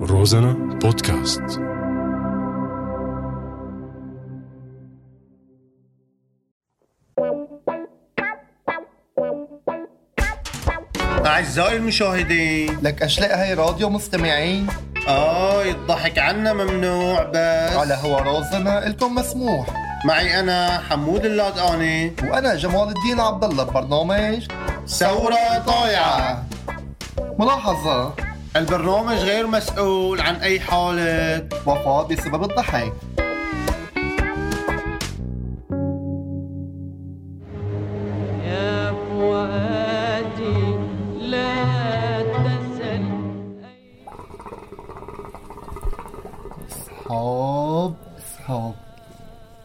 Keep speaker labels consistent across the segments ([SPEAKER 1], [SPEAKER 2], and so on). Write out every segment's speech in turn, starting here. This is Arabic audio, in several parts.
[SPEAKER 1] روزانا بودكاست
[SPEAKER 2] أعزائي المشاهدين
[SPEAKER 3] لك أشلاء هاي راديو مستمعين
[SPEAKER 2] آي الضحك عنا ممنوع بس
[SPEAKER 3] على هو رازنا إلكم مسموح
[SPEAKER 2] معي أنا حمود اللادقاني
[SPEAKER 3] وأنا جمال الدين عبد الله ببرنامج
[SPEAKER 2] ثورة طايعة
[SPEAKER 3] ملاحظة
[SPEAKER 2] البرنامج غير مسؤول عن أي حالة
[SPEAKER 3] وفاة بسبب الضحك
[SPEAKER 4] يا فؤادي لا تسل
[SPEAKER 3] صحاب صحاب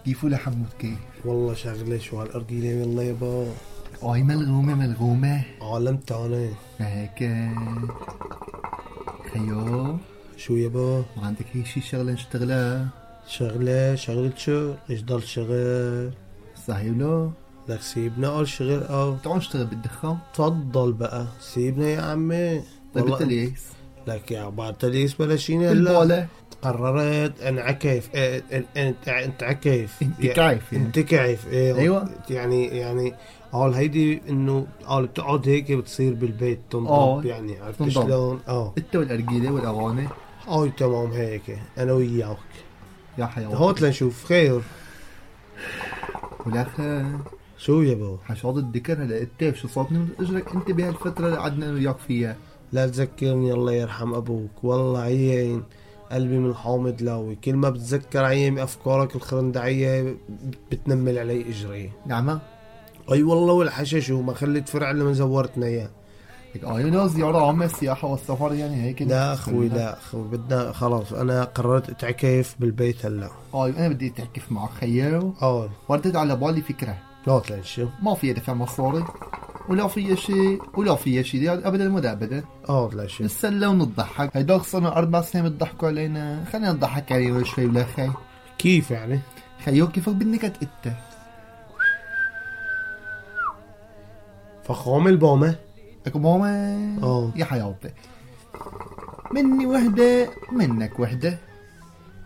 [SPEAKER 3] كيفو لحمود كيف
[SPEAKER 5] والله شغله شو هالارجيله يلا يابا
[SPEAKER 3] وهي ملغومة ملغومة
[SPEAKER 5] عالم تاني
[SPEAKER 3] هيك خيو
[SPEAKER 5] شو يابا
[SPEAKER 3] وعندك هيك شي شغلة نشتغلها
[SPEAKER 5] شغله شغله شو ايش ضل شغل
[SPEAKER 3] صحيح لو
[SPEAKER 5] لك سيبنا قال شغل اه
[SPEAKER 3] تعال نشتغل بالدخان
[SPEAKER 5] تفضل بقى سيبنا يا عمي
[SPEAKER 3] طيب
[SPEAKER 5] والله-
[SPEAKER 3] انت ليش
[SPEAKER 5] لك يا بعد تليس بلا شي هلا
[SPEAKER 3] البولة
[SPEAKER 5] قررت انعكف إيه، إن- إن- انتعكف
[SPEAKER 3] انتكعف يعني.
[SPEAKER 5] انتكعف ايه
[SPEAKER 3] أيوة.
[SPEAKER 5] يعني يعني قال هيدي انه قال بتقعد هيك بتصير بالبيت
[SPEAKER 3] آه.
[SPEAKER 5] تنضب يعني عرفت
[SPEAKER 3] تنضب.
[SPEAKER 5] شلون؟ اه
[SPEAKER 3] انت والأرجيلة والأغاني
[SPEAKER 5] اي تمام هيك انا وياك
[SPEAKER 3] يا حيوان
[SPEAKER 5] هوت لنشوف خير
[SPEAKER 3] ولك
[SPEAKER 5] شو يا بابا
[SPEAKER 3] حشاط الذكر هلا انت شو صابني من اجرك انت بهالفتره اللي قعدنا انا وياك فيها
[SPEAKER 5] لا تذكرني الله يرحم ابوك والله عيين قلبي من الحامض لاوي كل ما بتذكر عيم افكارك الخرندعيه بتنمل علي اجري
[SPEAKER 3] نعمه
[SPEAKER 5] اي والله والحشش وما خليت فرع الا من زورتنا اياه
[SPEAKER 3] لك اه يلا زياره عامه السياحه والسفر يعني هيك
[SPEAKER 5] لا اخوي لا اخوي بدنا خلاص انا قررت اتعكيف بالبيت هلا
[SPEAKER 3] اه انا بدي اتعكف معك خيو
[SPEAKER 5] اه
[SPEAKER 3] وردت على بالي فكره
[SPEAKER 5] نوت لنشوف
[SPEAKER 3] ما فيها دفع مصاري ولا فيها شيء ولا فيها شيء يعني ابدا ولا ابدا
[SPEAKER 5] اه لنشوف
[SPEAKER 3] نتسلى ونضحك هيداك صرنا اربع سنين بيضحكوا علينا خلينا نضحك عليهم شوي ولا خي
[SPEAKER 5] كيف يعني
[SPEAKER 3] خيو كيفك بالنكت انت
[SPEAKER 5] فخام البومه
[SPEAKER 3] لك ماما
[SPEAKER 5] آه.
[SPEAKER 3] يا حياتي مني وحده منك وحده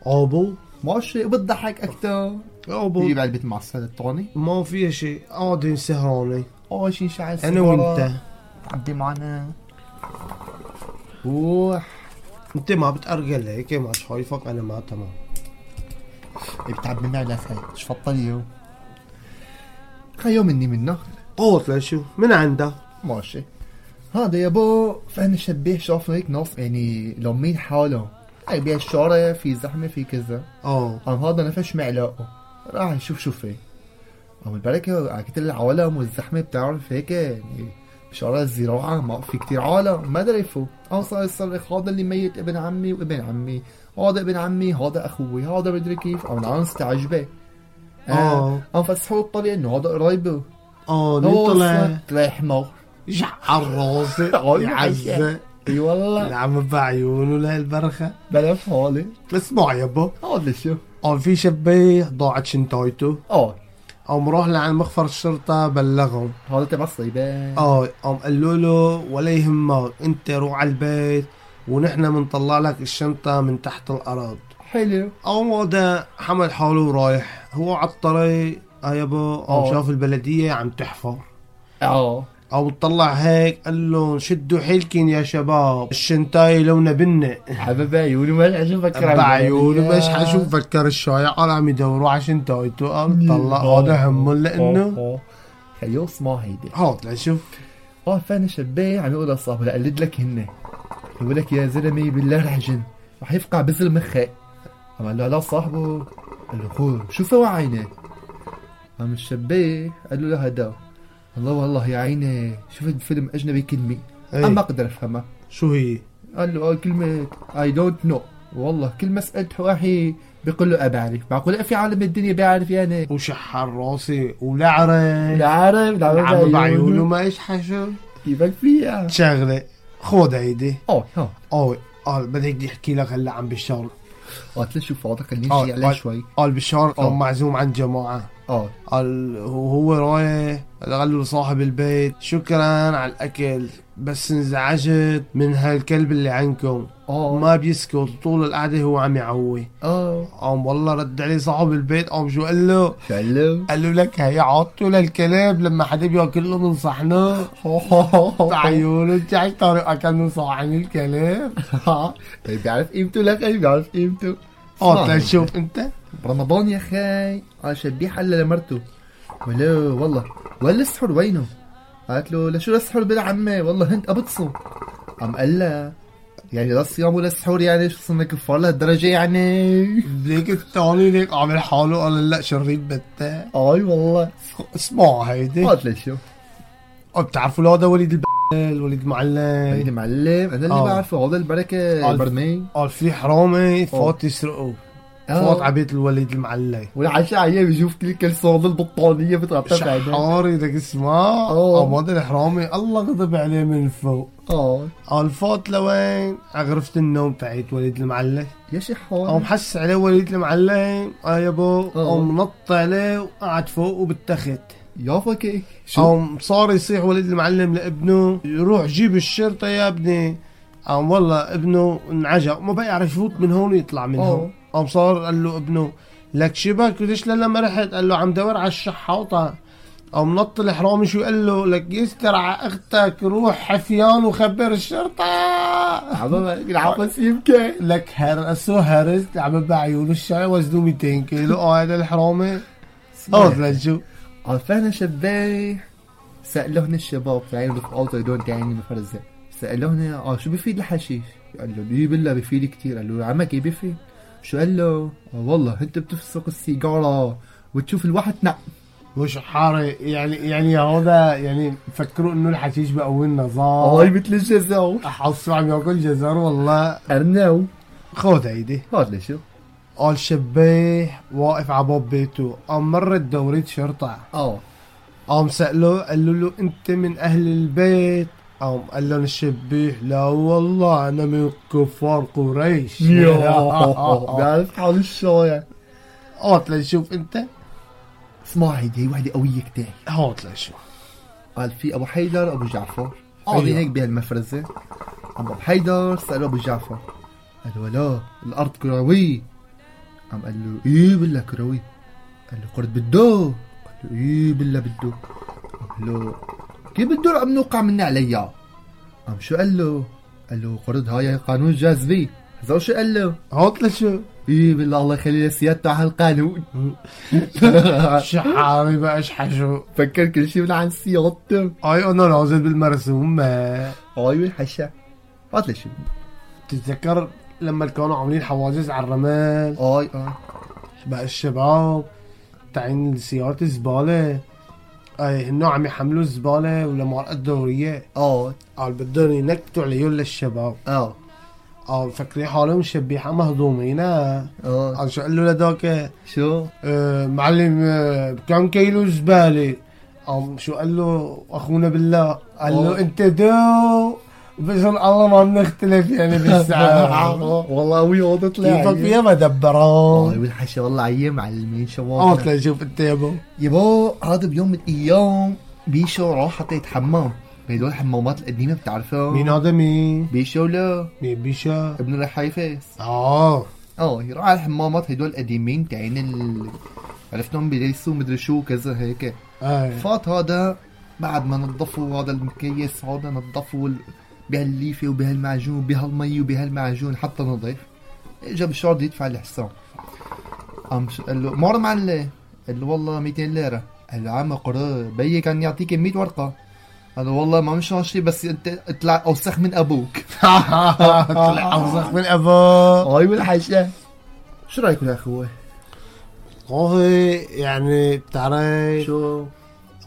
[SPEAKER 5] ابو
[SPEAKER 3] ماشي وبتضحك اكثر
[SPEAKER 5] ابو
[SPEAKER 3] بيجيب علبة معسل الطاني
[SPEAKER 5] ما فيها شيء قاعدين سهرانه
[SPEAKER 3] اه شي شعل
[SPEAKER 5] انا
[SPEAKER 3] سيجارة.
[SPEAKER 5] وانت
[SPEAKER 3] عدي معنا روح
[SPEAKER 5] انت ما بتأرجل هيك ما شايفك انا ما تمام
[SPEAKER 3] بتعب مني على خي شفطل يو خيو مني منه
[SPEAKER 5] قوت لشو من عندك
[SPEAKER 3] ماشي هذا يا بو فأنا شبيه شافه هيك ناس يعني لمين حاله هاي بيها الشارع في زحمة في كذا
[SPEAKER 5] اه
[SPEAKER 3] قام هذا نفش معلقه راح يشوف شو في قام البركة عكت العالم والزحمة بتعرف هيك يعني بشارع الزراعة ما في كتير عالم ما درفوا قام صار يصرخ هذا اللي ميت ابن عمي وابن عمي هذا ابن عمي هذا اخوي هذا مدري كيف قام العالم استعجبه
[SPEAKER 5] آه.
[SPEAKER 3] قام فسحوه الطريق انه هذا قرايبه
[SPEAKER 5] اه دي
[SPEAKER 3] هو
[SPEAKER 5] طلع
[SPEAKER 3] صار طلع حمار
[SPEAKER 5] جعر راسي
[SPEAKER 3] عيون
[SPEAKER 5] يا عزة
[SPEAKER 3] اي والله
[SPEAKER 5] العم بعيونه لهالبرخة
[SPEAKER 3] بلا فالي
[SPEAKER 5] اسمع يابا
[SPEAKER 3] هذا شو
[SPEAKER 5] قام في شبيه ضاعت شنطايته
[SPEAKER 3] اه
[SPEAKER 5] قام راح لعند مخفر الشرطة بلغهم
[SPEAKER 3] هذا تبع الصيبان
[SPEAKER 5] اه قام قالوا له ولا يهمك انت روح على البيت ونحن منطلع لك الشنطة من تحت الأرض
[SPEAKER 3] حلو
[SPEAKER 5] قام هذا حمل حاله ورايح هو على الطريق اه يابا قام
[SPEAKER 3] آه.
[SPEAKER 5] شاف البلدية عم تحفر
[SPEAKER 3] اه
[SPEAKER 5] او طلع هيك قال لهم شدوا حيلكن يا شباب الشنتاي لونه بنة
[SPEAKER 3] حبيب عيوني ما عجبك
[SPEAKER 5] بعيونه مش حشوف فكر الشايع قال عم يدوروا على شنتايته قام "أه." طلع هذا همه لانه
[SPEAKER 3] خيو اسمع هيدي
[SPEAKER 5] هات لنشوف
[SPEAKER 3] اه فانا شبيه عم يقول لصاحبه لا قلد لك هن يقول لك يا زلمه بالله رح جن رح يفقع بزل مخك قام قال له لا صاحبه قال له خو شو سوى عينك قام الشبيه قال له لا هدا الله والله يا عيني شفت فيلم اجنبي كلمه
[SPEAKER 5] إيه.
[SPEAKER 3] اما اقدر افهمها
[SPEAKER 5] شو هي
[SPEAKER 3] قال له اه كلمة اي دونت نو والله كل ما سألته واحد بيقول له أه بعرف معقول في عالم الدنيا بيعرف يعني
[SPEAKER 5] وشحر راسي ولعرة
[SPEAKER 3] العرب
[SPEAKER 5] عم بعيونه ما ايش حشو
[SPEAKER 3] كيفك فيها
[SPEAKER 5] شغله خود هيدي
[SPEAKER 3] اه ها
[SPEAKER 5] اوي قال بدي بدي احكي لك هلا عن بشار
[SPEAKER 3] قلت له شوف هذا خليني
[SPEAKER 5] آه،
[SPEAKER 3] شي عليه
[SPEAKER 5] آه.
[SPEAKER 3] شوي
[SPEAKER 5] قال بشار
[SPEAKER 3] آه.
[SPEAKER 5] كان معزوم عند جماعه
[SPEAKER 3] اه
[SPEAKER 5] على- وهو رايح قال له صاحب البيت شكرا على الاكل بس انزعجت من هالكلب اللي عندكم
[SPEAKER 3] اه
[SPEAKER 5] ما بيسكت طول القعده هو عم يعوي
[SPEAKER 3] اه
[SPEAKER 5] قام والله رد عليه صاحب البيت قام شو قال له
[SPEAKER 3] شلو
[SPEAKER 5] قال له لك هي عطوا للكلاب لما حدا بياكله من صحنه عيونه انت عايش طريقه انه صحن الكلاب
[SPEAKER 3] طيب بيعرف قيمته لا خي بيعرف قيمته
[SPEAKER 5] اه تشوف انت
[SPEAKER 3] رمضان يا خاي عشان بيحلى لمرته ولو والله ولا السحر وينه قالت له لشو السحر بلا عمي والله هنت ابطسه قام قال لها يعني لا الصيام ولا السحور يعني شو صرنا كفار لهالدرجه يعني
[SPEAKER 5] ذيك الثاني ليك عامل حاله قال لا شريط بتاع
[SPEAKER 3] اي والله
[SPEAKER 5] اسمع هيدي
[SPEAKER 3] قالت لي شو
[SPEAKER 5] اه بتعرفوا لو هذا وليد البقال وليد معلم
[SPEAKER 3] هيدي معلم انا اللي
[SPEAKER 5] آه.
[SPEAKER 3] بعرفه هذا البركه
[SPEAKER 5] آه.
[SPEAKER 3] برمي
[SPEAKER 5] قال في حرامي فوت يسرقه فوت على بيت الوليد المعلم
[SPEAKER 3] آه. والعشاء عيال بيشوف كل كلسون البطانيه بتغطى بعينه
[SPEAKER 5] شحاري لك اسمع
[SPEAKER 3] اه.
[SPEAKER 5] قام هذا الحرامي الله غضب عليه من فوق
[SPEAKER 3] اه
[SPEAKER 5] قال فوت لوين عغرفة النوم تاعت وليد المعلم
[SPEAKER 3] يا شحون
[SPEAKER 5] قام حس عليه وليد المعلم اه يابو قام نط عليه وقعد فوقه بالتخت
[SPEAKER 3] يا فكي
[SPEAKER 5] قام صار يصيح وليد المعلم لابنه روح جيب الشرطه يا ابني قام والله ابنه انعجق ما بقى يعرف يفوت من هون ويطلع من
[SPEAKER 3] أوه.
[SPEAKER 5] هون قام صار قال له ابنه لك شبك ليش للا ما رحت قال له عم دور على الشحوطه قام نط الحرامي شو قال له لك يستر على اختك روح حفيان وخبر الشرطه
[SPEAKER 3] عم العبس يبكي
[SPEAKER 5] لك هرسه هرس عم بعيونه الشاي وزنه 200 كيلو اه هذا الحرامي اه شو
[SPEAKER 3] عرفانا شباح سألوهن الشباب تعالوا رفقاته هدول تاني مفرزة سألوهن اه شو بفيد الحشيش؟ قال له ليه بالله بفيد كتير قال له عمك ايه بفيد؟ شو قال له؟ آه والله انت بتفسق السيجارة وتشوف الواحد نق
[SPEAKER 5] مش حارق يعني يعني هذا يعني فكروا انه الحشيش بقوي
[SPEAKER 3] آه، هاي
[SPEAKER 5] النظام
[SPEAKER 3] مثل الجزاو
[SPEAKER 5] حاسه عم ياكل جزر والله
[SPEAKER 3] ارناو
[SPEAKER 5] خذ هيدي
[SPEAKER 3] هاد شو؟
[SPEAKER 5] قال شبيه واقف على باب بيته قام مرت دورية شرطة
[SPEAKER 3] اه
[SPEAKER 5] قام سأله قالوا له انت من اهل البيت قام قال لهم الشبيه لا والله انا من كفار قريش
[SPEAKER 3] بعرف حال الشايع
[SPEAKER 5] هات لنشوف انت
[SPEAKER 3] اسمع هيدي هي وحدة قوية كتير
[SPEAKER 5] هات لنشوف
[SPEAKER 3] قال في ابو حيدر ابو جعفر
[SPEAKER 5] أيوة.
[SPEAKER 3] قاعدين هيك بهالمفرزه عم ابو حيدر سالوا ابو جعفر قال له لا الارض كروي عم قال له ايه بالله كروي قال له قرد بده قال له ايه بالله بده قال له كيف بده عم نوقع مني عليا عم شو قال له قال له قرد هاي قانون الجاذبيه هذا شو قال له
[SPEAKER 5] هات لنشوف
[SPEAKER 3] ايه بالله الله يخلي لي سيادته على القانون
[SPEAKER 5] شحاري بقى ايش حشو
[SPEAKER 3] فكر كل شيء من عن سيادته
[SPEAKER 5] اي انا نازل بالمرسوم
[SPEAKER 3] ايوه الحشا قالت لي شو
[SPEAKER 5] تتذكر لما كانوا عاملين حواجز على الرمال
[SPEAKER 3] اي اي
[SPEAKER 5] بقى الشباب تاعين سيارة الزبالة اي هنو عم يحملوا الزبالة ولما الدورية
[SPEAKER 3] اه
[SPEAKER 5] قال بدهم ينكتوا عيون للشباب
[SPEAKER 3] اه
[SPEAKER 5] قال مفكرين حالهم شبيحة مهضومين آه.
[SPEAKER 3] اه
[SPEAKER 5] قال شو قال له لداك
[SPEAKER 3] شو؟
[SPEAKER 5] آه معلم آه كم كيلو زبالة قام شو قال له اخونا بالله قال
[SPEAKER 3] أوه.
[SPEAKER 5] له انت دو بإذن الله ما بنختلف يعني بالساعة
[SPEAKER 3] والله قوي وضع
[SPEAKER 5] كيفك فيها ما دبران
[SPEAKER 3] والحشا والله عيام معلمين شباب
[SPEAKER 5] اوت لنشوف انت يا بو
[SPEAKER 3] يبا هذا بيوم من الايام بيشو راح حتى يتحمم بهدول الحمامات القديمه بتعرفها
[SPEAKER 5] مين هذا مين؟
[SPEAKER 3] بيشو لا
[SPEAKER 5] مين بيشا؟
[SPEAKER 3] ابن الرحايفس
[SPEAKER 5] اه
[SPEAKER 3] اه يروح على الحمامات هدول القديمين تاعين ال... عرفتهم بيليسوا مدري شو كذا هيك
[SPEAKER 5] ايه
[SPEAKER 3] فات هذا بعد ما نظفوا هذا المكيس هذا نظفوا ال- بهالليفه وبهالمعجون وبهالمي وبهالمعجون حتى نظيف اجى بالشارد يدفع الحساب قام ش- قال له مر معلم قال له والله 200 ليره قال له عم قرا بيي كان يعطيك 100 ورقه قال له والله ما مش شيء بس انت اطلع اوسخ من ابوك
[SPEAKER 5] طلع اوسخ من ابا
[SPEAKER 3] هاي والحشا شو رايكم يا اخوي؟
[SPEAKER 5] والله يعني بتعرف
[SPEAKER 3] شو؟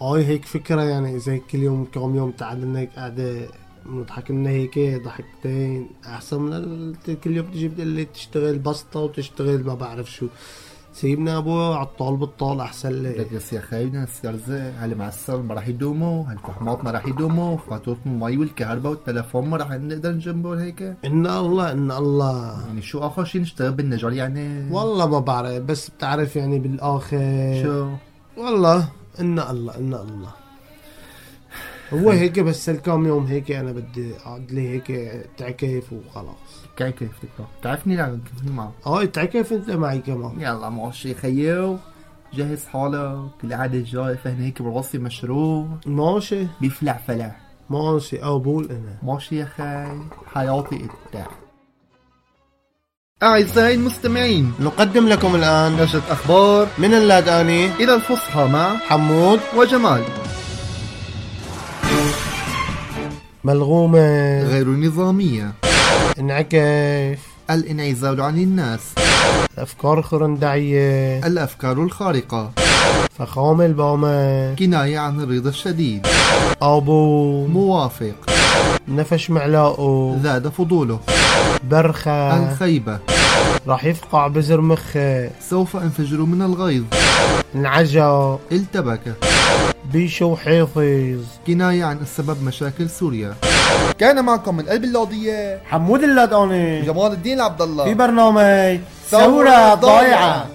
[SPEAKER 5] هاي هيك فكرة يعني زي كل يوم كم يوم تعبنا هيك قاعدة بنضحك لنا هيك ضحكتين احسن من ال- كل يوم تجي بتقول لي تشتغل بسطة وتشتغل ما بعرف شو سيبنا ابوه على الطال بالطال احسن لي
[SPEAKER 3] لك بس يا اخي بدنا نسترزق هل معسل ما راح يدوموا هالفحمات ما راح يدوموا فاتورة المي والكهرباء والتلفون ما راح نقدر نجنبه هيك
[SPEAKER 5] ان الله ان الله
[SPEAKER 3] يعني شو اخر شيء نشتغل بالنجار يعني
[SPEAKER 5] والله ما بعرف بس بتعرف يعني بالاخر
[SPEAKER 3] شو
[SPEAKER 5] والله ان الله ان الله هو هيك بس الكام يوم هيك انا بدي اقعد لي هيك تعكيف وخلاص
[SPEAKER 3] كيف كيف تيك توك تعرفني لعبة كيفني معه
[SPEAKER 5] اه تعكيف انت معي كمان
[SPEAKER 3] يلا ماشي خيو جهز حالك القعدة الجاية فهنا هيك براسي مشروب
[SPEAKER 5] ماشي
[SPEAKER 3] بيفلع فلع
[SPEAKER 5] ماشي اه بقول انا
[SPEAKER 3] ماشي يا خي حياتي ابداع أعزائي المستمعين
[SPEAKER 5] نقدم لكم الان
[SPEAKER 3] نشرة أخبار
[SPEAKER 5] من اللاداني
[SPEAKER 3] إلى الفصحى مع
[SPEAKER 5] حمود
[SPEAKER 3] وجمال
[SPEAKER 5] ملغومة
[SPEAKER 3] غير نظامية
[SPEAKER 5] انعكاف
[SPEAKER 3] الانعزال عن الناس
[SPEAKER 5] أفكار خرندعية
[SPEAKER 3] الأفكار الخارقة
[SPEAKER 5] فخام البامة
[SPEAKER 3] كناية عن الرضا الشديد
[SPEAKER 5] أبو
[SPEAKER 3] موافق
[SPEAKER 5] نفش معلاقه
[SPEAKER 3] زاد فضوله
[SPEAKER 5] برخة
[SPEAKER 3] الخيبة
[SPEAKER 5] راح يفقع بزر مخه
[SPEAKER 3] سوف انفجر من الغيظ
[SPEAKER 5] انعجى
[SPEAKER 3] التبك
[SPEAKER 5] بيشو حيفظ
[SPEAKER 3] كناية عن السبب مشاكل سوريا كان معكم من قلب اللوضية
[SPEAKER 5] حمود اللاداني
[SPEAKER 3] جمال الدين عبد الله
[SPEAKER 5] برنامج
[SPEAKER 3] ثورة ضايعة.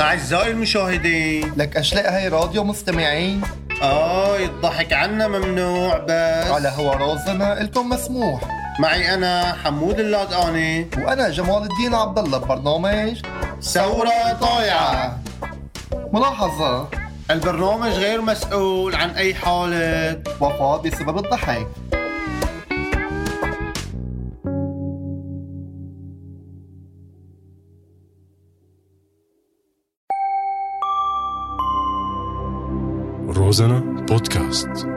[SPEAKER 2] أعزائي المشاهدين
[SPEAKER 3] لك أشلاء هاي راديو مستمعين
[SPEAKER 2] آه الضحك عنا ممنوع بس
[SPEAKER 3] على هو رازنا إلكم مسموح
[SPEAKER 2] معي أنا حمود اللادقاني
[SPEAKER 3] وأنا جمال الدين عبد الله ببرنامج
[SPEAKER 2] ثورة ضايعة
[SPEAKER 3] ملاحظة
[SPEAKER 2] البرنامج غير مسؤول عن أي حالة
[SPEAKER 3] وفاة بسبب الضحك
[SPEAKER 1] Розана подкаст.